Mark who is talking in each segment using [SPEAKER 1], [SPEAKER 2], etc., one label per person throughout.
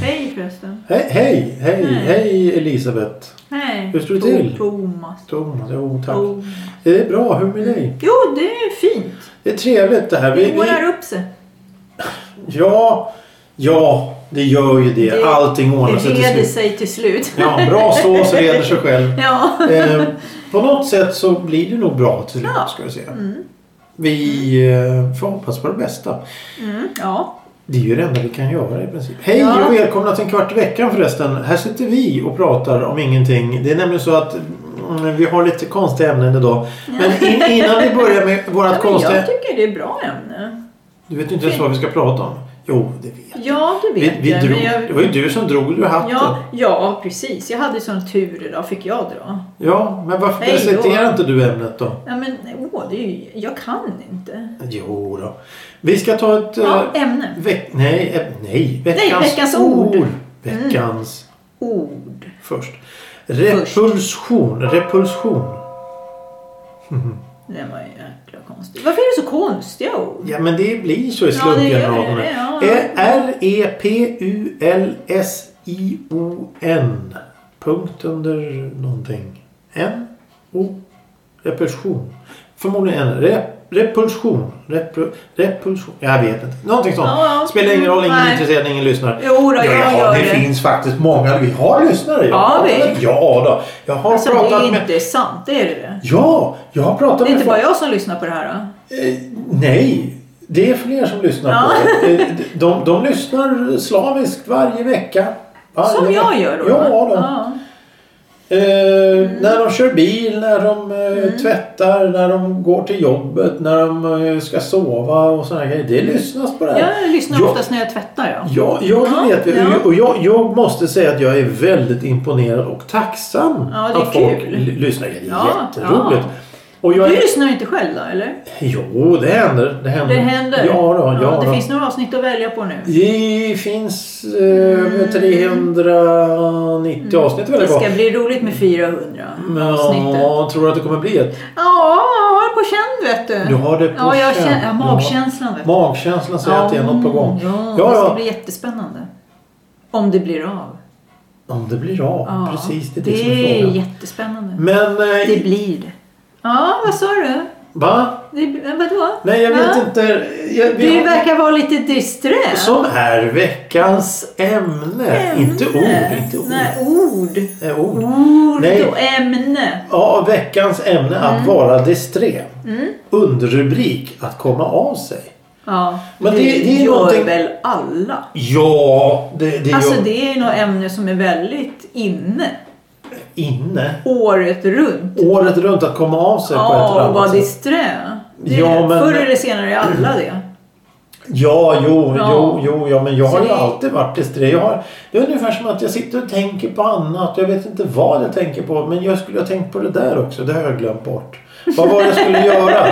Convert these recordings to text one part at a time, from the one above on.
[SPEAKER 1] Hej förresten.
[SPEAKER 2] Hej, hej, hej,
[SPEAKER 1] Nej.
[SPEAKER 2] hej Elisabeth.
[SPEAKER 1] Hej.
[SPEAKER 2] Hur står det
[SPEAKER 1] To-
[SPEAKER 2] till?
[SPEAKER 1] Thomas.
[SPEAKER 2] Thomas, jo tack.
[SPEAKER 1] Tom-
[SPEAKER 2] Det är bra, hur är det med dig?
[SPEAKER 1] Jo, det är fint.
[SPEAKER 2] Det är trevligt det här. Vi,
[SPEAKER 1] Det
[SPEAKER 2] vi,
[SPEAKER 1] ordnar upp sig.
[SPEAKER 2] ja, ja, det gör ju det.
[SPEAKER 1] Det-
[SPEAKER 2] Allting
[SPEAKER 1] Det
[SPEAKER 2] ordnar sig till
[SPEAKER 1] reder
[SPEAKER 2] slut.
[SPEAKER 1] sig till slut.
[SPEAKER 2] Ja, bra sås reder sig själv.
[SPEAKER 1] Ja.
[SPEAKER 2] Eh, på något sätt så blir det nog bra till slut
[SPEAKER 1] Ja.
[SPEAKER 2] ska jag säga.
[SPEAKER 1] Mm.
[SPEAKER 2] Vi eh, får hoppas på det bästa.
[SPEAKER 1] Mm. Ja.
[SPEAKER 2] Det är ju det enda vi kan göra i princip. Hej
[SPEAKER 1] Ja.
[SPEAKER 2] och välkomna till en kvart i veckan förresten. Här sitter vi och pratar om ingenting. Det är nämligen så att mm, vi har lite konstiga ämnen idag. Men in, innan vi börjar med
[SPEAKER 1] Ja,
[SPEAKER 2] vårat
[SPEAKER 1] men jag
[SPEAKER 2] konstiga...
[SPEAKER 1] tycker det är bra ämne.
[SPEAKER 2] Du vet inte ens vad vi ska prata om. Jo, det vet
[SPEAKER 1] Ja, det
[SPEAKER 2] vi.
[SPEAKER 1] vet
[SPEAKER 2] vi
[SPEAKER 1] jag. men
[SPEAKER 2] drog,
[SPEAKER 1] jag-
[SPEAKER 2] det var ju du som drog ur hatten.
[SPEAKER 1] Ja, ja, precis. Jag hade sån tur idag. Fick jag dra?
[SPEAKER 2] Ja, men varför
[SPEAKER 1] Hej då.
[SPEAKER 2] presenterar inte du ämnet då?
[SPEAKER 1] Ja, men åh, det är ju, jag kan inte.
[SPEAKER 2] Jo då. Vi ska ta ett... eh,
[SPEAKER 1] Ja, ämne.
[SPEAKER 2] Veck, nej, eh, nej, veckans,
[SPEAKER 1] veckans ord. Mm.
[SPEAKER 2] Veckans
[SPEAKER 1] Ord.
[SPEAKER 2] först. Repulsion. Repulsion.
[SPEAKER 1] Det var ju jäkla konstigt. Varför är det så konstiga ord?
[SPEAKER 2] Ja, men det blir så i
[SPEAKER 1] Ja, det gör
[SPEAKER 2] slumpen.
[SPEAKER 1] det, ja.
[SPEAKER 2] E, R-E-P-U-L-S-I-O-N. Punkt under någonting. N. O. Repulsion. Förmodligen en. Rep, repulsion. Repru, repulsion. Jag vet inte. Någonting sånt.
[SPEAKER 1] Ja, ja.
[SPEAKER 2] Spelar ingen roll. Ingen
[SPEAKER 1] Nej.
[SPEAKER 2] är intresserad. Ingen lyssnar.
[SPEAKER 1] Jo då, jag gör
[SPEAKER 2] det
[SPEAKER 1] det.
[SPEAKER 2] finns faktiskt många. Vi har lyssnare. Jag
[SPEAKER 1] Har vi?
[SPEAKER 2] pratar- Ja då. Jag har
[SPEAKER 1] Alltså, det
[SPEAKER 2] pratat
[SPEAKER 1] är
[SPEAKER 2] med...
[SPEAKER 1] inte sant. Det är det det.
[SPEAKER 2] Ja, jag har pratat
[SPEAKER 1] Det är
[SPEAKER 2] med
[SPEAKER 1] inte
[SPEAKER 2] folk-
[SPEAKER 1] bara jag som lyssnar på det här. Då.
[SPEAKER 2] Eh, nej, det är fler som lyssnar på det. Eh, De, de lyssnar slaviskt varje vecka. Varje
[SPEAKER 1] Som jag
[SPEAKER 2] vecka.
[SPEAKER 1] gör då.
[SPEAKER 2] Ja,
[SPEAKER 1] då.
[SPEAKER 2] de.
[SPEAKER 1] Ja. Mm.
[SPEAKER 2] Eh, När de kör bil, när de eh, tvättar, när de går till jobbet, när de eh, ska sova och sådana grejer. Det lyssnas på det här.
[SPEAKER 1] Mm. Jag lyssnar
[SPEAKER 2] Jag-
[SPEAKER 1] oftast när jag tvättar. Ja.
[SPEAKER 2] Ja, jag
[SPEAKER 1] Ja,
[SPEAKER 2] vet ju.
[SPEAKER 1] ja.
[SPEAKER 2] Och jag, jag måste säga att jag är väldigt imponerad och tacksam
[SPEAKER 1] Ja, det är
[SPEAKER 2] att folk
[SPEAKER 1] kul.
[SPEAKER 2] l- lyssnar. Det är
[SPEAKER 1] Ja,
[SPEAKER 2] jätteroligt.
[SPEAKER 1] ja.
[SPEAKER 2] Och jag
[SPEAKER 1] Du
[SPEAKER 2] är...
[SPEAKER 1] lyssnar inte själv då, eller?
[SPEAKER 2] Jo, det händer. Det händer.
[SPEAKER 1] Det händer.
[SPEAKER 2] Mm. Ja, då, ja,
[SPEAKER 1] det
[SPEAKER 2] då.
[SPEAKER 1] finns några avsnitt att välja på nu.
[SPEAKER 2] Det finns eh, 390 avsnitt väl
[SPEAKER 1] Mm. Det
[SPEAKER 2] det var?
[SPEAKER 1] ska bli roligt med 400 avsnittet.
[SPEAKER 2] Ja, tror du att det kommer bli ett?
[SPEAKER 1] Ja, jag har det på känn vet du.
[SPEAKER 2] Du har det på
[SPEAKER 1] ja, jag
[SPEAKER 2] känn.
[SPEAKER 1] känner, ja,
[SPEAKER 2] Du har-
[SPEAKER 1] magkänslan vet du.
[SPEAKER 2] Magkänslan säger att det är något på gång.
[SPEAKER 1] Ja,
[SPEAKER 2] ja,
[SPEAKER 1] det ska
[SPEAKER 2] ja.
[SPEAKER 1] bli jättespännande. Om det blir av.
[SPEAKER 2] Om det blir av.
[SPEAKER 1] Ja,
[SPEAKER 2] Precis, det är
[SPEAKER 1] det
[SPEAKER 2] det, som är
[SPEAKER 1] är
[SPEAKER 2] frågan.
[SPEAKER 1] jättespännande.
[SPEAKER 2] Men, eh,
[SPEAKER 1] Det blir det. Ja, vad sa du?
[SPEAKER 2] va?
[SPEAKER 1] Det, blir- vadå?
[SPEAKER 2] Nej, jag vet
[SPEAKER 1] Va?
[SPEAKER 2] inte. Jag, vi
[SPEAKER 1] Du
[SPEAKER 2] har-
[SPEAKER 1] verkar vara lite disträ.
[SPEAKER 2] Som är veckans ämne. Inte ord. Inte ord.
[SPEAKER 1] Nej, ord.
[SPEAKER 2] Eh, ord.
[SPEAKER 1] Ord
[SPEAKER 2] Nej.
[SPEAKER 1] och ämne.
[SPEAKER 2] Ja, veckans ämne att
[SPEAKER 1] Mm.
[SPEAKER 2] vara disträ. Underrubrik att komma av sig.
[SPEAKER 1] Ja,
[SPEAKER 2] Men det- det är
[SPEAKER 1] gör
[SPEAKER 2] någonting-
[SPEAKER 1] väl alla.
[SPEAKER 2] Ja, det, det är
[SPEAKER 1] Alltså
[SPEAKER 2] ju
[SPEAKER 1] det är något ämne som är väldigt inne.
[SPEAKER 2] inne.
[SPEAKER 1] Året runt.
[SPEAKER 2] Året runt att komma av sig på ett
[SPEAKER 1] Ja,
[SPEAKER 2] eller
[SPEAKER 1] och vara
[SPEAKER 2] annat sätt.
[SPEAKER 1] disträ. Det,
[SPEAKER 2] Ja, men-
[SPEAKER 1] Förr eller senare är alla det.
[SPEAKER 2] Ja, jo,
[SPEAKER 1] Ja.
[SPEAKER 2] jo, jo, ja, men jag
[SPEAKER 1] Så
[SPEAKER 2] har ju
[SPEAKER 1] det-
[SPEAKER 2] alltid varit disträ. Jag har, det är ungefär som att jag sitter och tänker på annat. Jag vet inte vad jag tänker på, men jag skulle ha tänkt på det där också. Det har jag glömt bort. Vad var det jag skulle göra?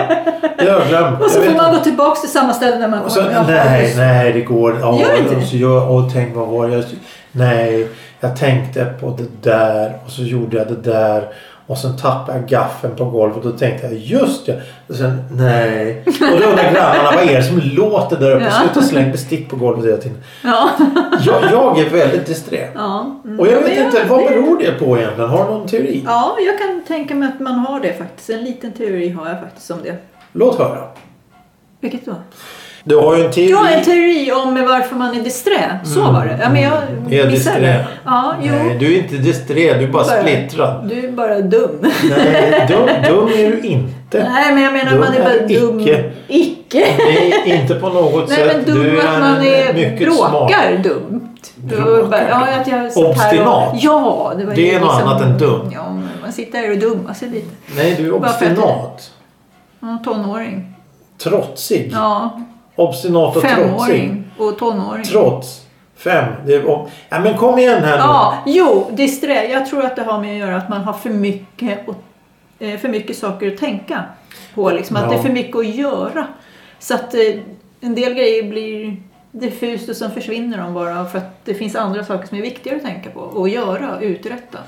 [SPEAKER 2] Det har jag glömt.
[SPEAKER 1] Och så
[SPEAKER 2] jag
[SPEAKER 1] får
[SPEAKER 2] vet
[SPEAKER 1] man
[SPEAKER 2] inte.
[SPEAKER 1] gå tillbaka till samma ställe när man
[SPEAKER 2] och så,
[SPEAKER 1] kommer tillbaka.
[SPEAKER 2] nej, nej, det går. Ja,
[SPEAKER 1] Gör det inte?
[SPEAKER 2] och, så jag, och tänk vad var det jag... Nej, jag tänkte på det där och så gjorde jag det där. Och sen tappade jag gaffeln på golvet och då tänkte jag just det. Och sen nej. Och då undrar grannarna vad är det som låter där uppe?
[SPEAKER 1] Ja.
[SPEAKER 2] Sluta släng bestick på golvet hela tiden.
[SPEAKER 1] Ja.
[SPEAKER 2] Jag, jag är väldigt disträ.
[SPEAKER 1] ja. Mm.
[SPEAKER 2] Och jag
[SPEAKER 1] Ja,
[SPEAKER 2] vet
[SPEAKER 1] men
[SPEAKER 2] inte,
[SPEAKER 1] ja,
[SPEAKER 2] vad
[SPEAKER 1] det-
[SPEAKER 2] beror det på egentligen? Har du någon teori?
[SPEAKER 1] Ja, jag kan tänka mig att man har det faktiskt. En liten teori har jag faktiskt om det.
[SPEAKER 2] Låt höra.
[SPEAKER 1] Vilket då?
[SPEAKER 2] Du har ju en teori.
[SPEAKER 1] Ja, en teori om varför man är disträ. Så var det. Ja, men jag
[SPEAKER 2] Mm. Är
[SPEAKER 1] missade
[SPEAKER 2] disträ.
[SPEAKER 1] det. Ja, jo.
[SPEAKER 2] Nej, du är inte disträ. Du är bara
[SPEAKER 1] Bara-
[SPEAKER 2] splittrad.
[SPEAKER 1] Du är bara dum.
[SPEAKER 2] Nej, dum, dum är du inte.
[SPEAKER 1] Nej, men jag menar
[SPEAKER 2] Dum
[SPEAKER 1] man är
[SPEAKER 2] är
[SPEAKER 1] bara dum.
[SPEAKER 2] icke.
[SPEAKER 1] Icke.
[SPEAKER 2] Nej, inte på något
[SPEAKER 1] Nej,
[SPEAKER 2] sätt.
[SPEAKER 1] men dum
[SPEAKER 2] du
[SPEAKER 1] att man är,
[SPEAKER 2] mycket smart.
[SPEAKER 1] bråkar dumt. Du har
[SPEAKER 2] Bråkar
[SPEAKER 1] bara- Ja,
[SPEAKER 2] dumt.
[SPEAKER 1] att jag satt Här
[SPEAKER 2] Obstinat.
[SPEAKER 1] och, ja, det, var
[SPEAKER 2] Det
[SPEAKER 1] ju liksom-
[SPEAKER 2] är något annat än dum.
[SPEAKER 1] Ja, men man sitter här och dummar sig lite.
[SPEAKER 2] Nej, du är
[SPEAKER 1] Bara för att-
[SPEAKER 2] obstinat.
[SPEAKER 1] Ja, tonåring.
[SPEAKER 2] Trotsig.
[SPEAKER 1] Ja,
[SPEAKER 2] Obstinat och trotsig.
[SPEAKER 1] femåring och tonåring.
[SPEAKER 2] Trots. Fem. Det är, ob- ja, men kom igen här nu.
[SPEAKER 1] Ja, jo, disträ. Jag tror att det har med att göra att man har för mycket, och, eh, för mycket saker att tänka på. Liksom, Att
[SPEAKER 2] Ja.
[SPEAKER 1] det är för mycket att göra. Så att eh, en del grejer blir diffust och sen försvinner de bara för att det finns andra saker som är viktigare att tänka på och göra, uträtta.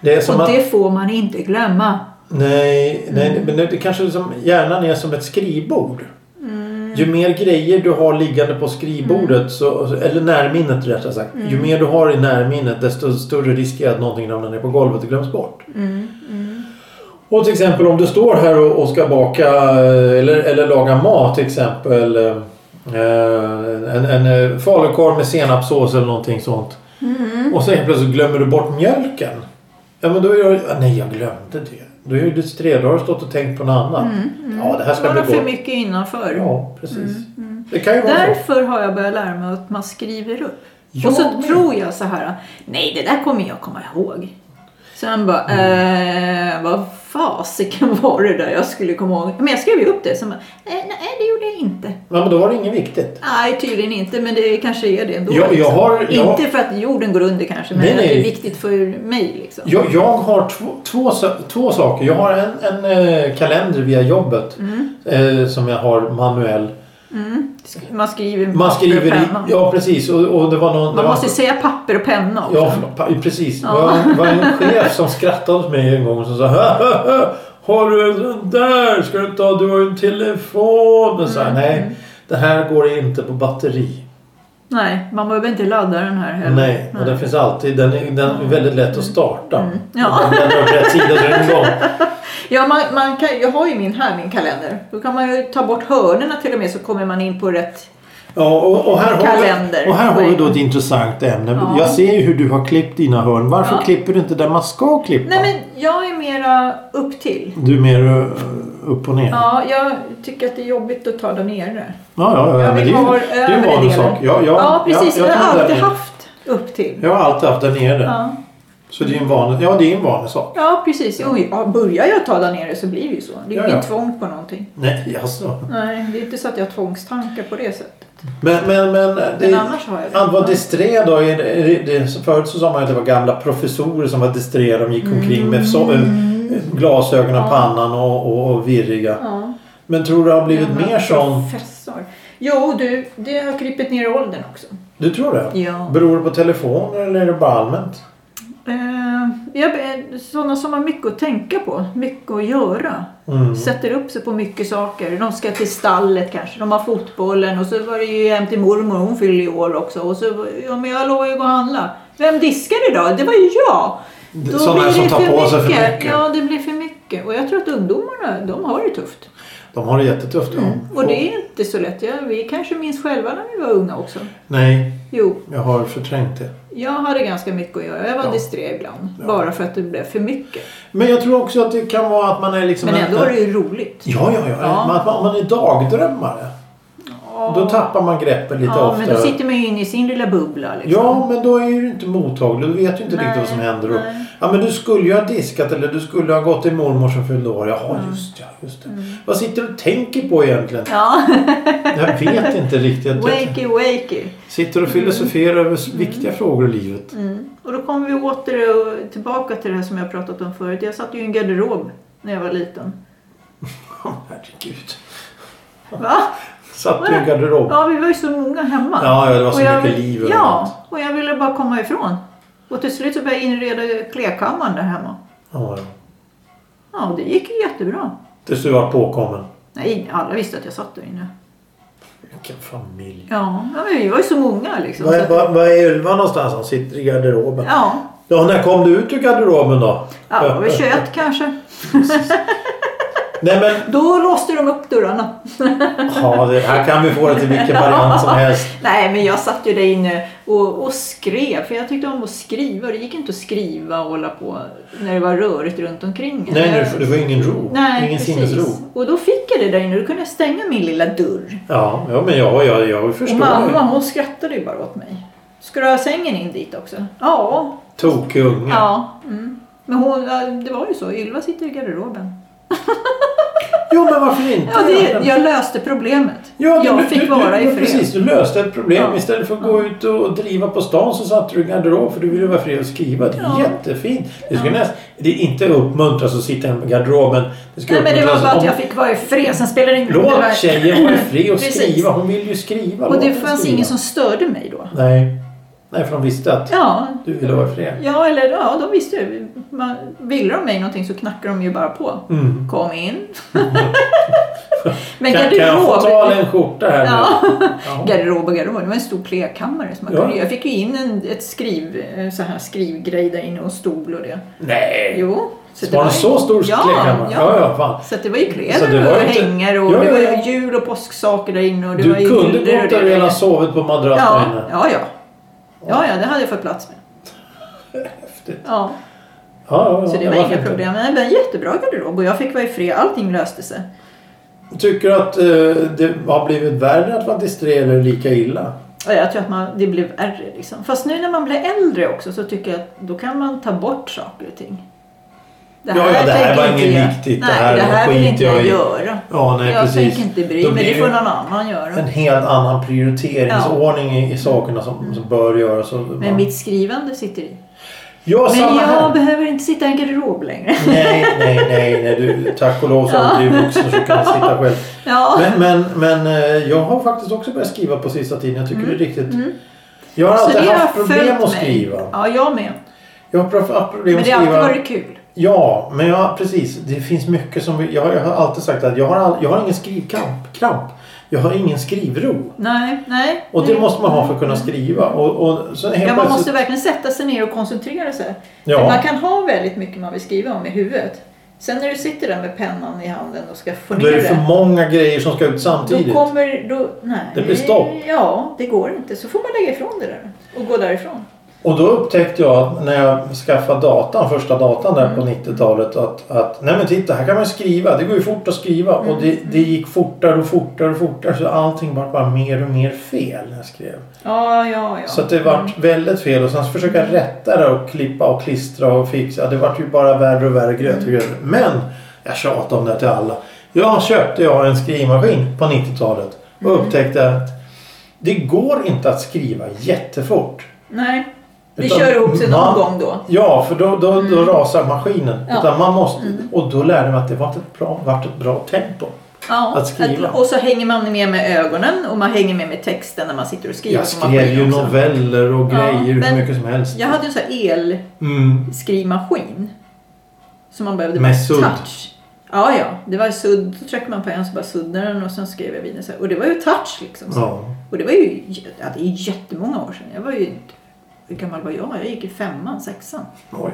[SPEAKER 2] Det är som
[SPEAKER 1] och
[SPEAKER 2] att,
[SPEAKER 1] det Mm. får man inte glömma.
[SPEAKER 2] nej, nej, men det, det kanske är som, hjärnan är som ett skrivbord.
[SPEAKER 1] Mm.
[SPEAKER 2] Ju mer grejer du har liggande på skrivbordet, så, eller närminnet rättare sagt.
[SPEAKER 1] Mm.
[SPEAKER 2] Ju mer du har i närminnet desto större risk är att någonting ramlar ner på golvet och glöms bort. Och till exempel om du står här och, och ska baka eh, eller, eller laga mat till exempel. eh, En, en eh, falukorv med senapssås eller någonting sånt.
[SPEAKER 1] Mm.
[SPEAKER 2] Och så helt plötsligt glömmer du bort mjölken. Ja men då är jag, ah, nej jag glömde det. Då är det tre dagar stått och tänkt på något annat. Ja det här ska
[SPEAKER 1] Mm, Man
[SPEAKER 2] bli
[SPEAKER 1] har för
[SPEAKER 2] gott.
[SPEAKER 1] mycket Mm, innanför.
[SPEAKER 2] Ja precis. Det kan ju vara så.
[SPEAKER 1] Därför har jag börjat lära mig att man skriver upp.
[SPEAKER 2] Ja,
[SPEAKER 1] och så
[SPEAKER 2] men-
[SPEAKER 1] tror jag så här, nej det där kommer jag komma ihåg. Sen bara,
[SPEAKER 2] Mm.
[SPEAKER 1] eh, vad fasiken var det där jag skulle komma ihåg? Men jag skrev ju upp det. Sen bara, nej, nej det gjorde jag inte.
[SPEAKER 2] Ja, men då var det inget viktigt.
[SPEAKER 1] Nej tydligen inte, men det kanske är det ändå.
[SPEAKER 2] Jag- jag
[SPEAKER 1] liksom.
[SPEAKER 2] har- jag har-
[SPEAKER 1] Inte för att jorden går under kanske, men
[SPEAKER 2] Nej,
[SPEAKER 1] att det
[SPEAKER 2] nej.
[SPEAKER 1] är viktigt för mig. Liksom.
[SPEAKER 2] Jag, jag har två, två, sa- två saker. Jag har en, en eh, kalender via jobbet eh, som jag har manuell.
[SPEAKER 1] Mm, Sk- Man skriver med
[SPEAKER 2] Man
[SPEAKER 1] papper och
[SPEAKER 2] skriver i,
[SPEAKER 1] penna.
[SPEAKER 2] Ja, precis. Och, och det var någon, det
[SPEAKER 1] Man
[SPEAKER 2] var,
[SPEAKER 1] måste säga papper och penna också.
[SPEAKER 2] Ja, pa- precis. Det
[SPEAKER 1] Ja.
[SPEAKER 2] var, det var en chef som skrattade åt mig en gång och så sa "Hö, hö, hö, Har du en sån där? Ska du inte ha? Du har ju en telefon. Och så här, Nej, det här går inte på batteri.
[SPEAKER 1] Nej, man behöver inte ladda den här heller.
[SPEAKER 2] Nej, och den finns alltid. Den är, den är väldigt lätt att starta.
[SPEAKER 1] Ja.
[SPEAKER 2] Den drar på rätt sida så är den igång.
[SPEAKER 1] Ja, man, man kan, jag har ju min här, min kalender. Då kan man ju ta bort hörnerna till och med så kommer man in på rätt.
[SPEAKER 2] Ja, och, och här har
[SPEAKER 1] Kalender.
[SPEAKER 2] vi, och här har vi då ett intressant ämne.
[SPEAKER 1] Ja.
[SPEAKER 2] Jag ser ju hur du har klippt dina hörn. Varför
[SPEAKER 1] Ja.
[SPEAKER 2] klipper du inte där man ska klippa?
[SPEAKER 1] Nej, men jag är mera upp till.
[SPEAKER 2] Du är mer eh, upp och ner.
[SPEAKER 1] Ja, jag tycker att det är jobbigt att ta dem nere.
[SPEAKER 2] Ja, ja, ja.
[SPEAKER 1] Jag
[SPEAKER 2] men
[SPEAKER 1] vill
[SPEAKER 2] det är
[SPEAKER 1] ha
[SPEAKER 2] ju- det är ju en
[SPEAKER 1] över
[SPEAKER 2] vanlig
[SPEAKER 1] delen.
[SPEAKER 2] sak. Ja, ja,
[SPEAKER 1] Ja, precis.
[SPEAKER 2] Jag,
[SPEAKER 1] jag,
[SPEAKER 2] jag,
[SPEAKER 1] har
[SPEAKER 2] kan
[SPEAKER 1] alltid
[SPEAKER 2] den-
[SPEAKER 1] haft upp till.
[SPEAKER 2] jag har alltid haft den nere.
[SPEAKER 1] Ja,
[SPEAKER 2] Så det är en vanlig, ja, det är en vanlig sak.
[SPEAKER 1] ja precis. Oj, ja, börjar jag ta där nere så blir det ju så. Det är ju
[SPEAKER 2] Ja, ja.
[SPEAKER 1] inget tvång på någonting.
[SPEAKER 2] Nej, alltså.
[SPEAKER 1] Nej, det är inte så att jag har tvångstankar på det sättet.
[SPEAKER 2] Men, men, men. eh,
[SPEAKER 1] Men
[SPEAKER 2] Det,
[SPEAKER 1] annars har jag
[SPEAKER 2] att vara
[SPEAKER 1] det.
[SPEAKER 2] disträ då. Är det, är det- det, förut så sa man att det var gamla professorer som var disträ. De gick omkring med so- glasögon och
[SPEAKER 1] Mm. Ja.
[SPEAKER 2] pannan och, och, och virriga.
[SPEAKER 1] Ja.
[SPEAKER 2] Men tror du det har blivit
[SPEAKER 1] Ja, men
[SPEAKER 2] mer sån?
[SPEAKER 1] Professor. Jo, du, det har krypit ner i åldern också.
[SPEAKER 2] Du tror det?
[SPEAKER 1] Ja.
[SPEAKER 2] Beror det på telefoner eller är det bara allmänt?
[SPEAKER 1] Eh, jag, sådana som har mycket att tänka på, mycket att göra.
[SPEAKER 2] Mm.
[SPEAKER 1] Sätter upp sig på mycket saker. De ska till stallet kanske, de har fotbollen och så var det ju hem till mormor, hon fyller i år också. Och så, ja men jag lovar ju att gå och handla. Vem diskar idag? Det var ju jag! Då
[SPEAKER 2] Sådana
[SPEAKER 1] blir
[SPEAKER 2] som
[SPEAKER 1] det
[SPEAKER 2] tar på sig för mycket.
[SPEAKER 1] Ja, det blir för mycket. Och jag tror att ungdomarna, de har det tufft.
[SPEAKER 2] De har det jättetufft. ja.
[SPEAKER 1] Mm. Och det är inte så lätt. Ja, vi kanske minns själva när vi var unga också.
[SPEAKER 2] Nej,
[SPEAKER 1] Jo,
[SPEAKER 2] jag har förträngt det.
[SPEAKER 1] jag hade ganska mycket att göra. Jag var
[SPEAKER 2] Ja.
[SPEAKER 1] disträ ibland. Bara för att det blev för mycket.
[SPEAKER 2] Men jag tror också att det kan vara att man är liksom...
[SPEAKER 1] Men
[SPEAKER 2] en-
[SPEAKER 1] ändå var det ju roligt.
[SPEAKER 2] Ja, ja, ja.
[SPEAKER 1] Ja.
[SPEAKER 2] Men att man, om man är dagdrömmare. Då tappar man greppet lite
[SPEAKER 1] Ja,
[SPEAKER 2] oftare.
[SPEAKER 1] men då sitter man ju inne i sin lilla bubbla. Liksom.
[SPEAKER 2] Ja, men då är du inte mottaglig. Du vet ju inte
[SPEAKER 1] Nej,
[SPEAKER 2] riktigt vad som händer. Och,
[SPEAKER 1] nej.
[SPEAKER 2] ja, men du skulle ju ha diskat eller du skulle ha gått till mormor som fyllde år. Jaha,
[SPEAKER 1] Mm.
[SPEAKER 2] just ja, just det. Vad sitter du och tänker på egentligen?
[SPEAKER 1] Ja,
[SPEAKER 2] Jag vet inte riktigt. Jag
[SPEAKER 1] wakey wakey.
[SPEAKER 2] Sitter och filosoferar över s- viktiga frågor i livet.
[SPEAKER 1] Mm. Och då kommer vi åter och tillbaka till det här som jag pratat om förut. Jag satt ju i en garderob när jag var liten.
[SPEAKER 2] Oh, herregud.
[SPEAKER 1] Va?
[SPEAKER 2] Satt du i en garderob?
[SPEAKER 1] Ja, vi var ju så många hemma.
[SPEAKER 2] Ja, ja, det var
[SPEAKER 1] Och
[SPEAKER 2] så
[SPEAKER 1] jag,
[SPEAKER 2] mycket liv överallt.
[SPEAKER 1] Ja, och jag ville bara komma ifrån. Och till slut så började jag inreda kläkammaren där hemma.
[SPEAKER 2] Ja, ja.
[SPEAKER 1] Ja, och det gick ju jättebra.
[SPEAKER 2] Tills du var påkommen.
[SPEAKER 1] Nej, alla visste att jag satt där inne.
[SPEAKER 2] Vilken familj.
[SPEAKER 1] Ja, ja, men vi var ju så många liksom.
[SPEAKER 2] Vad
[SPEAKER 1] så
[SPEAKER 2] är,
[SPEAKER 1] att-
[SPEAKER 2] vad, vad är Ylva någonstans? Han sitter i garderoben. Ja.
[SPEAKER 1] Ja,
[SPEAKER 2] när kom du ut ur garderoben då?
[SPEAKER 1] ja det var väl 21 kanske.
[SPEAKER 2] Nej men,
[SPEAKER 1] Då låste de upp dörrarna.
[SPEAKER 2] ja, det här kan vi få det till vilken variant som helst.
[SPEAKER 1] Nej, men jag satt ju där inne och, och skrev. För jag tyckte om att skriva. Det gick inte att skriva och hålla på när det var rörigt runt omkring. en.
[SPEAKER 2] Nej,
[SPEAKER 1] Jag-
[SPEAKER 2] nu, det var ingen ro.
[SPEAKER 1] Nej,
[SPEAKER 2] ingen
[SPEAKER 1] precis.
[SPEAKER 2] sinnesro.
[SPEAKER 1] Och då fick jag det där inne. Då kunde jag stänga min lilla dörr.
[SPEAKER 2] Ja, ja, men jag, jag, jag
[SPEAKER 1] Och
[SPEAKER 2] förstår.
[SPEAKER 1] mamma
[SPEAKER 2] Mamma.
[SPEAKER 1] hon skrattade ju bara åt mig. Ska du ha sängen in dit också? Ja.
[SPEAKER 2] Tokig unge.
[SPEAKER 1] ja. Mm. Men hon, ja, det var ju så. Ylva sitter i garderoben.
[SPEAKER 2] Jo, men varför inte?
[SPEAKER 1] Ja, det, jag löste problemet.
[SPEAKER 2] Ja,
[SPEAKER 1] jag
[SPEAKER 2] du-
[SPEAKER 1] fick
[SPEAKER 2] du,
[SPEAKER 1] vara
[SPEAKER 2] du,
[SPEAKER 1] i
[SPEAKER 2] ja,
[SPEAKER 1] fred.
[SPEAKER 2] Precis, du löste ett problem.
[SPEAKER 1] Ja.
[SPEAKER 2] Istället för att gå ut och driva på stan så satt du i garderob för du ville vara fri och skriva. Det är
[SPEAKER 1] Ja.
[SPEAKER 2] jättefint. Det, skulle nästan, det är inte uppmuntras att sitta hemma i garderoben. Det ska
[SPEAKER 1] Nej, men det var
[SPEAKER 2] uppmuntras
[SPEAKER 1] bara att
[SPEAKER 2] om-
[SPEAKER 1] jag fick vara i fred. Sen spelade det ingen roll.
[SPEAKER 2] Låt tjejen vara i fred och
[SPEAKER 1] Precis.
[SPEAKER 2] skriva. Hon vill ju skriva.
[SPEAKER 1] Och
[SPEAKER 2] Låt
[SPEAKER 1] det
[SPEAKER 2] henne
[SPEAKER 1] fanns
[SPEAKER 2] skriva.
[SPEAKER 1] ingen som störde mig då.
[SPEAKER 2] Nej. Nej, för de visste att
[SPEAKER 1] Ja,
[SPEAKER 2] du ville vara i fred.
[SPEAKER 1] ja eller ja, de visste ju. Man, ville de mig någonting så knackade de ju bara på.
[SPEAKER 2] Mm.
[SPEAKER 1] Kom in. Men
[SPEAKER 2] kan, kan jag få ta
[SPEAKER 1] garderob...
[SPEAKER 2] en skjorta här
[SPEAKER 1] Ja.
[SPEAKER 2] nu? Ja.
[SPEAKER 1] Garderob och garderob, det var en stor plegkammare. Som man
[SPEAKER 2] Ja.
[SPEAKER 1] kunde, jag fick ju in en ett skriv, eh, så här skrivgrej där inne och stol och det.
[SPEAKER 2] Nej.
[SPEAKER 1] Jo. det
[SPEAKER 2] Var den
[SPEAKER 1] ju-
[SPEAKER 2] så stor
[SPEAKER 1] Ja,
[SPEAKER 2] släktkammare?
[SPEAKER 1] ja.
[SPEAKER 2] Ja, ja, fan.
[SPEAKER 1] Så att det var ju
[SPEAKER 2] Så det
[SPEAKER 1] kläder
[SPEAKER 2] var
[SPEAKER 1] och
[SPEAKER 2] ju inte-
[SPEAKER 1] hänger och
[SPEAKER 2] Ja,
[SPEAKER 1] det
[SPEAKER 2] ja,
[SPEAKER 1] var ju
[SPEAKER 2] ja.
[SPEAKER 1] jul och påsksaker där inne. Och det var
[SPEAKER 2] Du
[SPEAKER 1] ju
[SPEAKER 2] kunde
[SPEAKER 1] bilder och
[SPEAKER 2] gott och
[SPEAKER 1] det.
[SPEAKER 2] väl ha sovit på madrassen
[SPEAKER 1] Ja,
[SPEAKER 2] här inne.
[SPEAKER 1] ja, ja. Ja, ja, det hade jag fått plats med.
[SPEAKER 2] Häftigt.
[SPEAKER 1] Ja,
[SPEAKER 2] Ja, ja, ja.
[SPEAKER 1] så det
[SPEAKER 2] Ja,
[SPEAKER 1] var
[SPEAKER 2] varför
[SPEAKER 1] inga
[SPEAKER 2] inte?
[SPEAKER 1] problem. Nej, men jättebra garderob och jag fick vara i fred. Allting löste sig.
[SPEAKER 2] Tycker du att eh, det har blivit värre att vara distré eller lika illa?
[SPEAKER 1] Ja, Jag tror att man, det blev värre liksom. Fast nu när man blir äldre också så tycker jag att då kan man ta bort saker och ting. Det
[SPEAKER 2] Ja, ja, det här
[SPEAKER 1] tänker
[SPEAKER 2] var
[SPEAKER 1] inte
[SPEAKER 2] inget
[SPEAKER 1] jag-
[SPEAKER 2] viktigt. Det
[SPEAKER 1] Nej,
[SPEAKER 2] här
[SPEAKER 1] det här vill
[SPEAKER 2] skiter
[SPEAKER 1] inte
[SPEAKER 2] jag
[SPEAKER 1] jag
[SPEAKER 2] i.
[SPEAKER 1] göra.
[SPEAKER 2] Ja, nej
[SPEAKER 1] jag
[SPEAKER 2] precis.
[SPEAKER 1] tänker inte bry
[SPEAKER 2] Då
[SPEAKER 1] mig.
[SPEAKER 2] blir
[SPEAKER 1] Det får
[SPEAKER 2] det
[SPEAKER 1] någon annan göra.
[SPEAKER 2] en helt annan prioriteringsordning i, i sakerna som, som bör göras. Och
[SPEAKER 1] Mm. Men mitt skrivande sitter i.
[SPEAKER 2] ja,
[SPEAKER 1] Men
[SPEAKER 2] samma
[SPEAKER 1] jag
[SPEAKER 2] här.
[SPEAKER 1] behöver inte sitta i en garderob längre.
[SPEAKER 2] Nej, nej, nej. nej du, tack och lov så har du blivit vuxen så kan jag sitta själv.
[SPEAKER 1] Ja.
[SPEAKER 2] Men, men, men eh, jag har faktiskt också börjat skriva på sista tiden. Jag tycker det är riktigt... Jag har
[SPEAKER 1] Mm. Så
[SPEAKER 2] alltid
[SPEAKER 1] det har
[SPEAKER 2] haft problem
[SPEAKER 1] följt
[SPEAKER 2] att
[SPEAKER 1] mig.
[SPEAKER 2] skriva.
[SPEAKER 1] Ja, jag med.
[SPEAKER 2] Jag har prof- haft problem
[SPEAKER 1] Men
[SPEAKER 2] att
[SPEAKER 1] det har
[SPEAKER 2] skriva.
[SPEAKER 1] alltid varit kul.
[SPEAKER 2] Ja, men jag, precis. Det finns mycket som... vi- Jag, har- jag har alltid sagt att jag har, all, jag har ingen skrivkramp. Kramp. Jag har ingen skrivro.
[SPEAKER 1] Nej, nej.
[SPEAKER 2] Och det
[SPEAKER 1] nej.
[SPEAKER 2] måste man ha för att kunna skriva. Och, och så helt
[SPEAKER 1] Mm. Ja, man måste
[SPEAKER 2] plötsligt-
[SPEAKER 1] verkligen sätta sig ner och koncentrera sig.
[SPEAKER 2] Ja.
[SPEAKER 1] Man kan ha väldigt mycket man vill skriva om i huvudet. Sen när du sitter där med pennan i handen och ska få
[SPEAKER 2] Då
[SPEAKER 1] ner
[SPEAKER 2] är det för
[SPEAKER 1] det.
[SPEAKER 2] många grejer som ska ut samtidigt.
[SPEAKER 1] Då kommer... Då, nej.
[SPEAKER 2] Det blir stopp.
[SPEAKER 1] Ja, det går inte. Så får man lägga ifrån det där och gå därifrån.
[SPEAKER 2] Och då upptäckte jag att när jag skaffade datan, första datan där
[SPEAKER 1] Mm.
[SPEAKER 2] på 90-talet att, att nej men titta här kan man skriva. Det går ju fort att skriva.
[SPEAKER 1] Mm.
[SPEAKER 2] Och det, det gick fortare och fortare och fortare. Så allting vart bara mer och mer fel när jag skrev.
[SPEAKER 1] Ja, ja, ja.
[SPEAKER 2] Så att det vart väldigt fel och sen så försöka rätta det och klippa och klistra och fixa. Det vart ju bara värre och värre gröt och gröt.
[SPEAKER 1] Mm.
[SPEAKER 2] Men jag tjatade om det till alla. Jag köpte jag en skrivmaskin på 90-talet
[SPEAKER 1] Mm.
[SPEAKER 2] och upptäckte att det går inte att skriva jättefort.
[SPEAKER 1] Nej. Det
[SPEAKER 2] Utan
[SPEAKER 1] kör ihop sig någon
[SPEAKER 2] man-
[SPEAKER 1] gång då.
[SPEAKER 2] Ja, för då, då, då rasar maskinen.
[SPEAKER 1] Mm. Ja. Mm.
[SPEAKER 2] Utan man måste, Och då lärde man att det vart ett bra, vart ett bra tempo.
[SPEAKER 1] Ja,
[SPEAKER 2] att skriva.
[SPEAKER 1] och så hänger man med med ögonen och man hänger med med texten när man sitter och skriver.
[SPEAKER 2] Jag
[SPEAKER 1] på maskinen
[SPEAKER 2] skrev ju
[SPEAKER 1] också.
[SPEAKER 2] noveller och
[SPEAKER 1] Ja,
[SPEAKER 2] grejer
[SPEAKER 1] men-
[SPEAKER 2] hur mycket som helst.
[SPEAKER 1] Jag hade en sån här
[SPEAKER 2] Mm.
[SPEAKER 1] elskrivmaskin. Som man behövde
[SPEAKER 2] Med
[SPEAKER 1] bara
[SPEAKER 2] sudd.
[SPEAKER 1] touch. Ja, ja. Det var sudd. Då tryckte man på en så bara suddade den och sen skrev jag vidare. så här. Och det var ju touch liksom.
[SPEAKER 2] Ja.
[SPEAKER 1] Och det var ju ja, det är jättemånga år sedan. Jag var ju... Hur gammal var jag? Jag gick i femman, sexan.
[SPEAKER 2] Oj.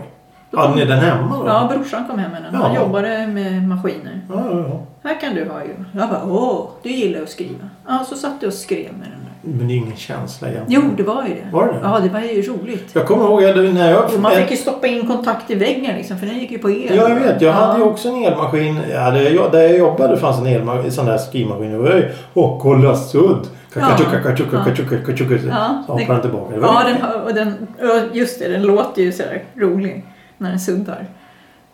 [SPEAKER 2] Hade ni den hemma då?
[SPEAKER 1] Ja, brorsan kom hem med den. Han
[SPEAKER 2] Ja.
[SPEAKER 1] jobbade med maskiner.
[SPEAKER 2] Ja, ja, ja.
[SPEAKER 1] Här kan du ha ju. Jag bara, åh, du gillar att skriva. Ja, så satt du och skrev med den där.
[SPEAKER 2] Men det är ingen känsla
[SPEAKER 1] Jo,
[SPEAKER 2] egentligen.
[SPEAKER 1] det var ju det.
[SPEAKER 2] Var det det?
[SPEAKER 1] Ja, det var ju roligt.
[SPEAKER 2] Jag kommer ihåg jag- när jag...
[SPEAKER 1] Jo, man fick ju stoppa in kontakt i väggen liksom, för den gick ju på el.
[SPEAKER 2] Ja, jag vet. Jag hade ju
[SPEAKER 1] ja.
[SPEAKER 2] också en elmaskin. Ja, där, jag, där jag jobbade fanns en elmaskin, sån där skrivmaskin. Och jag- Åh, kolla sudd!
[SPEAKER 1] Ja.
[SPEAKER 2] Kakatjuka, kakatjuka,
[SPEAKER 1] Ja.
[SPEAKER 2] kakatjuka, kakatjuka.
[SPEAKER 1] Ja,
[SPEAKER 2] Så hoppade
[SPEAKER 1] det-
[SPEAKER 2] den tillbaka. Det var
[SPEAKER 1] Ja,
[SPEAKER 2] det.
[SPEAKER 1] den, har- och den, ja, just det, den låter ju sådär rolig när den suddar.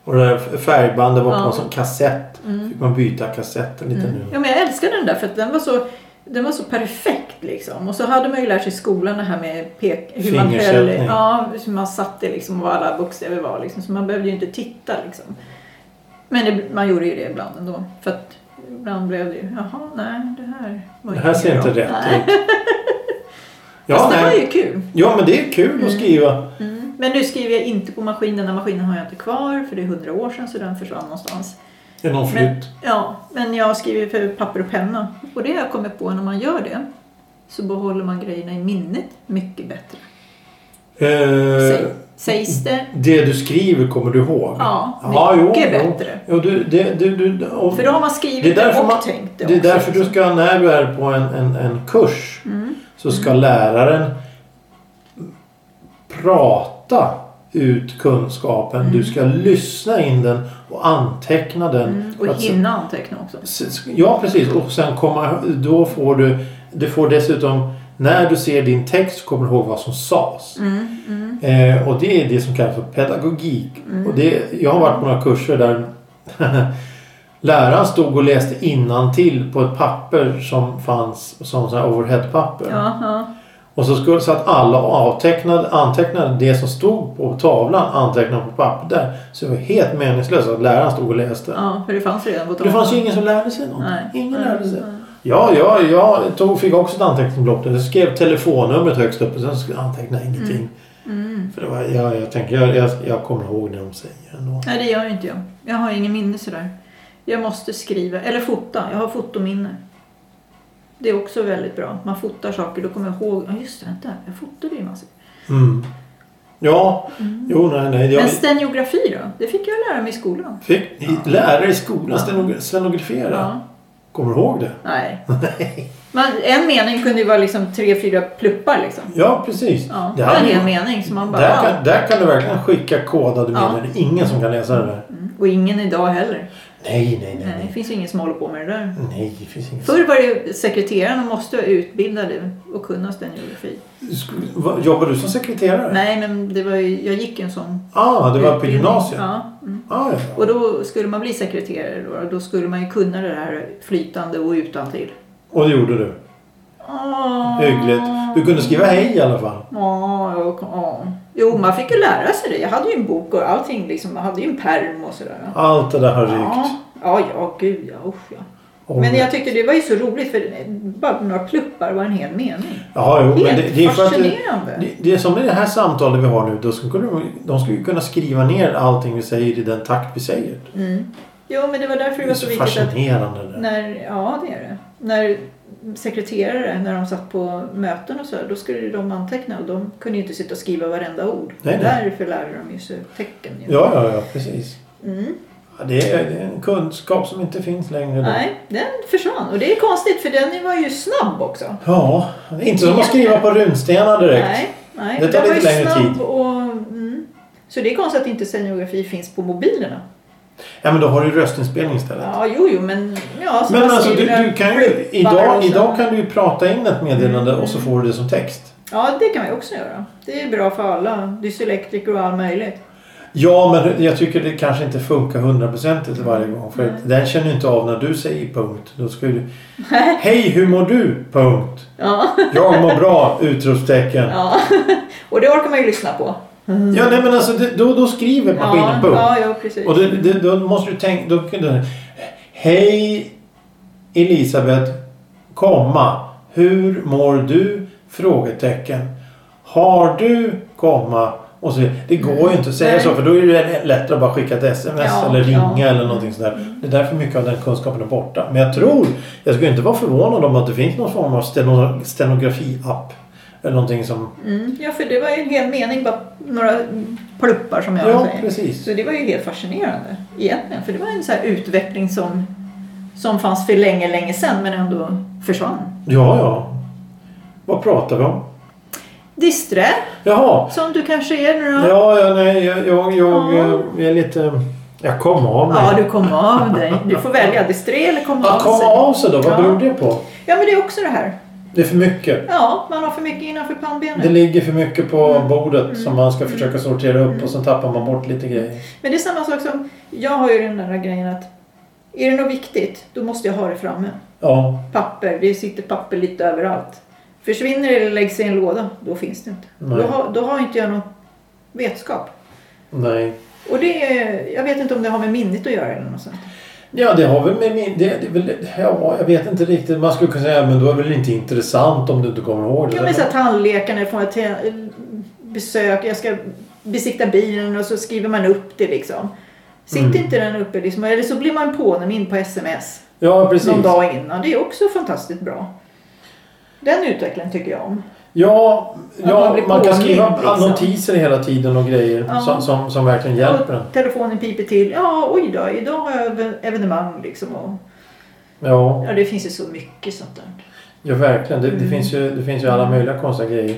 [SPEAKER 2] Och det där färgbandet var på
[SPEAKER 1] Ja. Mm.
[SPEAKER 2] en sån kassett. fick man byta kassetten lite nu.
[SPEAKER 1] Ja, men jag älskar den där för att den var så, den var så perfekt liksom. Och så hade man ju lärt sig i skolan det här med pek, hur man höll,
[SPEAKER 2] Fingersättning.
[SPEAKER 1] ja, hur man satte liksom och vad alla bokstäver var liksom. Så man behövde ju inte titta liksom. Men det, man gjorde ju det ibland ändå. För att ibland blev det ju, jaha, nej, det här var
[SPEAKER 2] Det här ser
[SPEAKER 1] inget
[SPEAKER 2] inte
[SPEAKER 1] bra.
[SPEAKER 2] rätt
[SPEAKER 1] nej.
[SPEAKER 2] ut. Ja,
[SPEAKER 1] Fast det var
[SPEAKER 2] nej.
[SPEAKER 1] ju kul.
[SPEAKER 2] ja, men det är kul att skriva.
[SPEAKER 1] Mm. Men nu skriver jag inte på maskinen. Den maskinen har jag inte kvar för det är hundra år sedan så den försvann någonstans.
[SPEAKER 2] Det är någon
[SPEAKER 1] Men,
[SPEAKER 2] flytt.
[SPEAKER 1] ja, men jag skriver för papper och penna. Och det har jag kommit på när man gör det så behåller man grejerna i minnet mycket bättre.
[SPEAKER 2] Eh,
[SPEAKER 1] Sä- Sägs det?
[SPEAKER 2] det du skriver kommer du ihåg.
[SPEAKER 1] Ja,
[SPEAKER 2] jo,
[SPEAKER 1] mycket
[SPEAKER 2] jo.
[SPEAKER 1] bättre.
[SPEAKER 2] Jo, du, det, du, du, och-
[SPEAKER 1] För då har man
[SPEAKER 2] Det är
[SPEAKER 1] skrivit det
[SPEAKER 2] därför,
[SPEAKER 1] och
[SPEAKER 2] man,
[SPEAKER 1] tänkt det
[SPEAKER 2] det är
[SPEAKER 1] också. Mm,
[SPEAKER 2] därför du ska, när du är på en, en, en kurs, så ska läraren prata ut kunskapen. Du ska lyssna in den och anteckna den. för
[SPEAKER 1] Mm. Och
[SPEAKER 2] att se-
[SPEAKER 1] hinna anteckna också.
[SPEAKER 2] S- Ja, precis. Och sen komma, då får du, du får dessutom, när du ser din text kommer du ihåg vad som sades.
[SPEAKER 1] Mm,
[SPEAKER 2] Eh, och det är
[SPEAKER 1] mm.
[SPEAKER 2] det som kallas för pedagogik. Och det, jag har varit på några kurser där Läraren stod och läste innantill på ett papper som fanns som sån här overheadpapper.
[SPEAKER 1] Ja, ja.
[SPEAKER 2] Och så, skulle, så att alla avtecknade, antecknade det som stod på tavlan antecknade på papper där. Så det var helt meningslöst att läraren stod och läste.
[SPEAKER 1] ja, för det fanns redan på
[SPEAKER 2] Det
[SPEAKER 1] tavlan.
[SPEAKER 2] fanns ju ingen som lärde sig något.
[SPEAKER 1] Nej.
[SPEAKER 2] Ingen
[SPEAKER 1] Nej.
[SPEAKER 2] lärde sig. Ja, ja, jag tog, fick också ett anteckningsblock. där. Jag skrev telefonnumret högst upp och sen skulle jag anteckna ingenting.
[SPEAKER 1] Mm.
[SPEAKER 2] För det var, jag, jag tänker, jag, jag, jag kommer ihåg när de säger det ändå.
[SPEAKER 1] Nej, det gör inte jag. Jag har ingen minne sådär. Jag måste skriva, eller fota. Jag har fotominne. Det är också väldigt bra. Man fotar saker, då kommer jag ihåg. Ja, just det, vänta. Jag fotade ju massor.
[SPEAKER 2] Mm. Ja, jo, nej, nej. Jag
[SPEAKER 1] Mm. Men stenografi då? Det fick jag lära mig i skolan.
[SPEAKER 2] fick lärare i skolan stenogra- stenografera.
[SPEAKER 1] Ja.
[SPEAKER 2] Kommer du ihåg det?
[SPEAKER 1] Nej. Men en mening kunde ju vara liksom tre, fyra pluppar liksom.
[SPEAKER 2] Ja, precis.
[SPEAKER 1] Ja, det
[SPEAKER 2] det
[SPEAKER 1] var en
[SPEAKER 2] hade-
[SPEAKER 1] hel mening som man bara...
[SPEAKER 2] där,
[SPEAKER 1] Wow.
[SPEAKER 2] kan, där kan du verkligen skicka kodade
[SPEAKER 1] Ja.
[SPEAKER 2] bilder. Det är ingen som kan läsa det där.
[SPEAKER 1] Mm. Och ingen idag heller.
[SPEAKER 2] Nej, nej, nej.
[SPEAKER 1] Nej, det
[SPEAKER 2] Nej,
[SPEAKER 1] finns ju ingen som håller på med det där.
[SPEAKER 2] nej det finns inget.
[SPEAKER 1] Förr var det ju sekreteraren och måste vara utbildad och kunna stenografi.
[SPEAKER 2] Sk- va- Jobbar du som sekreterare?
[SPEAKER 1] Nej, men det var ju, jag gick ju en sån.
[SPEAKER 2] Ah, det var på
[SPEAKER 1] utbildning.
[SPEAKER 2] gymnasiet?
[SPEAKER 1] Ja. Mm.
[SPEAKER 2] Ah, ja.
[SPEAKER 1] Och då skulle man bli sekreterare då, då skulle man ju kunna det här flytande och utantill.
[SPEAKER 2] Och det gjorde du?
[SPEAKER 1] Åh.
[SPEAKER 2] Ah. Hyggligt. Du kunde skriva hej i alla fall.
[SPEAKER 1] Ja, Ah, ja, ja. Jo, man fick ju lära sig det. Jag hade ju en bok och allting. Liksom, jag hade ju en pärm och sådär. va.
[SPEAKER 2] Allt det där har rykt.
[SPEAKER 1] Ja, ja, ja, gud ja. Usch, ja.
[SPEAKER 2] Om-
[SPEAKER 1] Men jag tyckte det var ju så roligt för bara några pluppar var en hel mening.
[SPEAKER 2] Ja, jo, men
[SPEAKER 1] Helt
[SPEAKER 2] det, det är för att det,
[SPEAKER 1] fascinerande.
[SPEAKER 2] det, det är som i det här samtalet vi har nu. Då skulle de, de skulle ju kunna skriva ner allting vi säger i den takt vi säger.
[SPEAKER 1] Mm. Jo, men det var därför det
[SPEAKER 2] Det är
[SPEAKER 1] var så
[SPEAKER 2] så
[SPEAKER 1] viktigt att
[SPEAKER 2] fascinerande. Det. där.
[SPEAKER 1] när, ja det är det. När sekreterare, när de satt på möten och så, då skulle ju de anteckna och de kunde ju inte sitta och skriva varenda ord.
[SPEAKER 2] Nej, nej.
[SPEAKER 1] Därför lärde de ju sig tecken. Ju.
[SPEAKER 2] Ja, ja, ja, precis.
[SPEAKER 1] Mm.
[SPEAKER 2] Ja, det, är, det är en kunskap som inte finns längre. Då.
[SPEAKER 1] Nej, den försvann. Och det är konstigt för den var ju snabb också.
[SPEAKER 2] Ja, det är inte som att skriva på runstenar direkt.
[SPEAKER 1] Nej, nej.
[SPEAKER 2] Det tar
[SPEAKER 1] den var
[SPEAKER 2] lite
[SPEAKER 1] ju
[SPEAKER 2] längre
[SPEAKER 1] snabb
[SPEAKER 2] tid.
[SPEAKER 1] Och, mm. Så det är konstigt att inte scenografi finns på mobilerna.
[SPEAKER 2] Ja, men då har du röstinspelning istället.
[SPEAKER 1] Ja, jo, jo, men... Ja, så
[SPEAKER 2] Men
[SPEAKER 1] man
[SPEAKER 2] alltså, du,
[SPEAKER 1] skriver
[SPEAKER 2] du kan ju,
[SPEAKER 1] pluppar och
[SPEAKER 2] idag,
[SPEAKER 1] så-
[SPEAKER 2] idag kan du ju prata in ett meddelande
[SPEAKER 1] Mm,
[SPEAKER 2] och så får du det som text.
[SPEAKER 1] Ja, det kan man ju också göra. Det är bra för alla. Dyselektriker och all möjligt.
[SPEAKER 2] Ja, men jag tycker det kanske inte funkar hundraprocentigt varje gång. För att den känner ju inte av när du säger punkt. Då ska ju Hej, hur mår du? Punkt.
[SPEAKER 1] Ja.
[SPEAKER 2] Jag mår bra! Utropstecken. Ja,
[SPEAKER 1] ja. Och det orkar man ju lyssna på.
[SPEAKER 2] nej men alltså det, då, då skriver maskinen
[SPEAKER 1] Mm. Ja,
[SPEAKER 2] punkt.
[SPEAKER 1] ja, ja precis.
[SPEAKER 2] Och det, det, då måste du tänka... Då, kan du- Hej Elisabeth, komma. Hur mår du? Frågetecken. Har du, komma. Och så, det går ju inte att säga
[SPEAKER 1] Nej.
[SPEAKER 2] så för då är det lättare att bara skicka ett sms
[SPEAKER 1] Ja,
[SPEAKER 2] eller ringa
[SPEAKER 1] ja.
[SPEAKER 2] eller någonting sådär. Det är därför mycket av den kunskapen är borta. Men jag tror, jag skulle inte vara förvånad om att det finns någon form av steno, stenografi-app. Eller någonting som...
[SPEAKER 1] Mm. Ja, för det var ju en hel mening, bara några pluppar som jag
[SPEAKER 2] Ja,
[SPEAKER 1] säger.
[SPEAKER 2] precis.
[SPEAKER 1] Så det var ju helt fascinerande egentligen. För det var en så här utveckling som, som fanns för länge, länge sedan men ändå försvann.
[SPEAKER 2] Ja, ja. Vad pratar vi om?
[SPEAKER 1] Disträ,
[SPEAKER 2] Jaha,
[SPEAKER 1] som du kanske är nu då.
[SPEAKER 2] Ja, ja nej, jag, jag, jag,
[SPEAKER 1] Ja.
[SPEAKER 2] eh, är lite... Jag kom av mig.
[SPEAKER 1] Ja, du kom av dig. Du får välja disträ eller komma av
[SPEAKER 2] Att komma
[SPEAKER 1] sig.
[SPEAKER 2] av sig då, vad
[SPEAKER 1] Ja.
[SPEAKER 2] beror det på?
[SPEAKER 1] Ja, men det är också det här.
[SPEAKER 2] Det är för mycket.
[SPEAKER 1] Ja, man har för mycket innanför
[SPEAKER 2] Det
[SPEAKER 1] pannbenet.
[SPEAKER 2] ligger för mycket på
[SPEAKER 1] Mm.
[SPEAKER 2] bordet som man ska försöka sortera upp och sen tappar man bort lite grejer.
[SPEAKER 1] Men det är samma sak som, jag har ju den där grejen att är det något viktigt, då måste jag ha det framme.
[SPEAKER 2] Ja,
[SPEAKER 1] Papper, det sitter papper lite överallt. Försvinner det eller läggs i en låda, då finns det inte.
[SPEAKER 2] Nej.
[SPEAKER 1] Då har, då har inte jag någon vetskap.
[SPEAKER 2] nej.
[SPEAKER 1] Och det är, jag vet inte om det har med minnet att göra eller något sånt.
[SPEAKER 2] Ja, det har väl med min... Det, det, är väl, ja, jag vet inte riktigt. Man skulle kunna säga men då är det väl inte intressant om du inte kommer ihåg det.
[SPEAKER 1] Ja, men så här tandläkaren, jag får ett te- besök, jag ska besikta bilen och så skriver man upp det liksom. Sitter
[SPEAKER 2] Mm.
[SPEAKER 1] inte den uppe liksom, eller så blir man påmind på sms.
[SPEAKER 2] ja precis.
[SPEAKER 1] någon dag innan. Det är också fantastiskt bra. Den utvecklingen tycker jag om.
[SPEAKER 2] Ja,
[SPEAKER 1] Att
[SPEAKER 2] ja
[SPEAKER 1] man
[SPEAKER 2] man,
[SPEAKER 1] blir
[SPEAKER 2] kan
[SPEAKER 1] påmind,
[SPEAKER 2] skriva
[SPEAKER 1] liksom.
[SPEAKER 2] notiser hela tiden och grejer
[SPEAKER 1] Ja.
[SPEAKER 2] som, som, som verkligen hjälper en.
[SPEAKER 1] Och telefonen piper till. Ja, oj då, idag har jag ev- evenemang liksom. Och,
[SPEAKER 2] Ja.
[SPEAKER 1] ja, det finns ju så mycket sånt där.
[SPEAKER 2] Ja, verkligen. Det,
[SPEAKER 1] Mm.
[SPEAKER 2] det, finns ju, det finns ju alla möjliga konstiga grejer.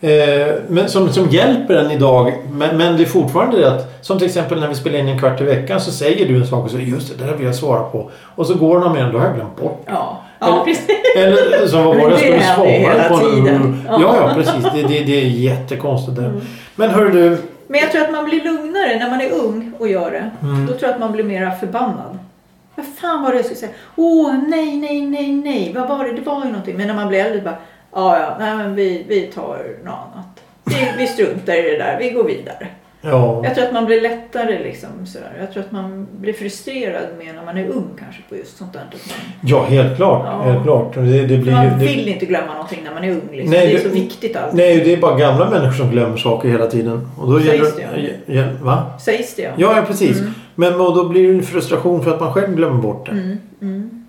[SPEAKER 2] Eh, men som, som hjälper en idag. Men, men det är fortfarande det att som till exempel när vi spelar in en kvart i veckan så säger du en sak och så just det, det där vill jag svara på. Och så går någon med den, då har jag glömt bort.
[SPEAKER 1] Ja,
[SPEAKER 2] Eller-
[SPEAKER 1] ja precis.
[SPEAKER 2] Eller som vad var det jag
[SPEAKER 1] Det
[SPEAKER 2] skulle
[SPEAKER 1] händer ju
[SPEAKER 2] svara
[SPEAKER 1] hela
[SPEAKER 2] på nu?
[SPEAKER 1] tiden. Mm.
[SPEAKER 2] Ja, ja precis. Det, det, det är jättekonstigt. Det. Men hör du.
[SPEAKER 1] Men jag tror att man blir lugnare när man är ung och gör det. Då tror jag att man blir mera förbannad. Vad fan var det jag skulle säga? Åh, nej, nej, nej, nej. Vad var det? Det var ju någonting. Men när man blir äldre bara, ja, ja, nej men vi, vi tar något annat. Vi, vi struntar i det där, vi går vidare.
[SPEAKER 2] Ja.
[SPEAKER 1] Jag tror att man blir lättare liksom sådär. Jag tror att man blir frustrerad mer när man är ung kanske på just sånt där. Att man,
[SPEAKER 2] Ja, helt klart.
[SPEAKER 1] Ja.
[SPEAKER 2] Helt klart. Det, det blir ju,
[SPEAKER 1] man
[SPEAKER 2] det,
[SPEAKER 1] vill inte glömma någonting när man är ung liksom.
[SPEAKER 2] Nej,
[SPEAKER 1] det är
[SPEAKER 2] du-
[SPEAKER 1] så viktigt allt.
[SPEAKER 2] Nej, det är bara gamla människor som glömmer saker hela tiden. Och då
[SPEAKER 1] Sägs
[SPEAKER 2] gäller- Ja, va?
[SPEAKER 1] Sägs det ja.
[SPEAKER 2] Ja, ja precis. Men och då blir det en frustration för att man själv glömmer bort det.
[SPEAKER 1] Mm, mm.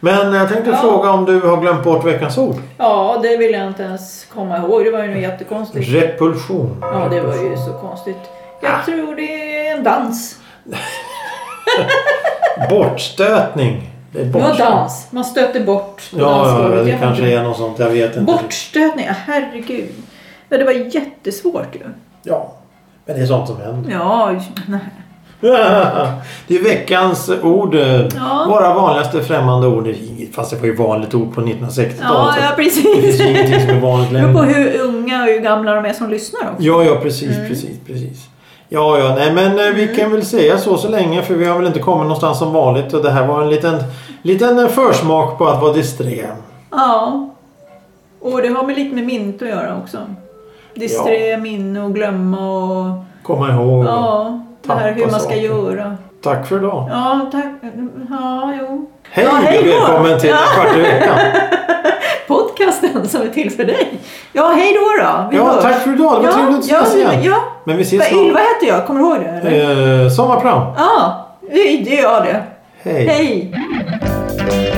[SPEAKER 2] Men jag tänkte
[SPEAKER 1] Ja.
[SPEAKER 2] fråga om du har glömt bort veckans ord?
[SPEAKER 1] Ja, det vill jag inte ens komma ihåg. Det var ju något jättekonstigt.
[SPEAKER 2] Repulsion.
[SPEAKER 1] Ja, det var ju så konstigt. Jag
[SPEAKER 2] Ah.
[SPEAKER 1] tror det är en dans.
[SPEAKER 2] Bortstötning. Det är
[SPEAKER 1] Det var
[SPEAKER 2] bortstötning.
[SPEAKER 1] dans. Man stötte bort på
[SPEAKER 2] Ja, ja,
[SPEAKER 1] dansgolvet.
[SPEAKER 2] det
[SPEAKER 1] Jag
[SPEAKER 2] kanske
[SPEAKER 1] vet inte.
[SPEAKER 2] är något sånt. Jag vet inte.
[SPEAKER 1] Bortstötning, ja, herregud. Ja, det var jättesvårt ju.
[SPEAKER 2] Ja, men det är sånt som händer.
[SPEAKER 1] Ja, j- nej.
[SPEAKER 2] det är veckans ord.
[SPEAKER 1] Ja.
[SPEAKER 2] Våra vanligaste främmande ord. Fast det var ju vanligt ord på 1960-talet.
[SPEAKER 1] ja,
[SPEAKER 2] så
[SPEAKER 1] ja
[SPEAKER 2] Det finns
[SPEAKER 1] precis.
[SPEAKER 2] ju ingenting som är vanligt
[SPEAKER 1] Det beror på
[SPEAKER 2] längre.
[SPEAKER 1] hur unga och hur gamla de är som lyssnar också.
[SPEAKER 2] Ja, ja precis,
[SPEAKER 1] Mm.
[SPEAKER 2] precis, precis. Ja, ja, nej men eh, vi kan väl säga så så länge för vi har väl inte kommit någonstans som vanligt och det här var en liten, liten eh, försmak på att vara disträ.
[SPEAKER 1] Ja. Och det har med lite med minnet att göra också. Disträ, minne och glömma och...
[SPEAKER 2] Komma ihåg.
[SPEAKER 1] Ja, det här hur man ska
[SPEAKER 2] Oh, Tappa saker.
[SPEAKER 1] göra.
[SPEAKER 2] Tack för idag.
[SPEAKER 1] Ja, tack. Ja, jo.
[SPEAKER 2] Hej
[SPEAKER 1] Ja, hej
[SPEAKER 2] och
[SPEAKER 1] då.
[SPEAKER 2] välkommen till
[SPEAKER 1] Ja.
[SPEAKER 2] Kvart i veckan.
[SPEAKER 1] Podcasten som är till för dig. Ja, hej då då. Vi
[SPEAKER 2] Ja,
[SPEAKER 1] hörs.
[SPEAKER 2] tack för idag. Det var
[SPEAKER 1] Ja,
[SPEAKER 2] trevligt att
[SPEAKER 1] ja,
[SPEAKER 2] ses igen.
[SPEAKER 1] ja.
[SPEAKER 2] Men vi ses
[SPEAKER 1] Vad
[SPEAKER 2] snart.
[SPEAKER 1] Ylva heter jag, kommer du ihåg det? eller?
[SPEAKER 2] Eh, sommarpram.
[SPEAKER 1] Ja, det det gör jag det. Hej.
[SPEAKER 2] Hej.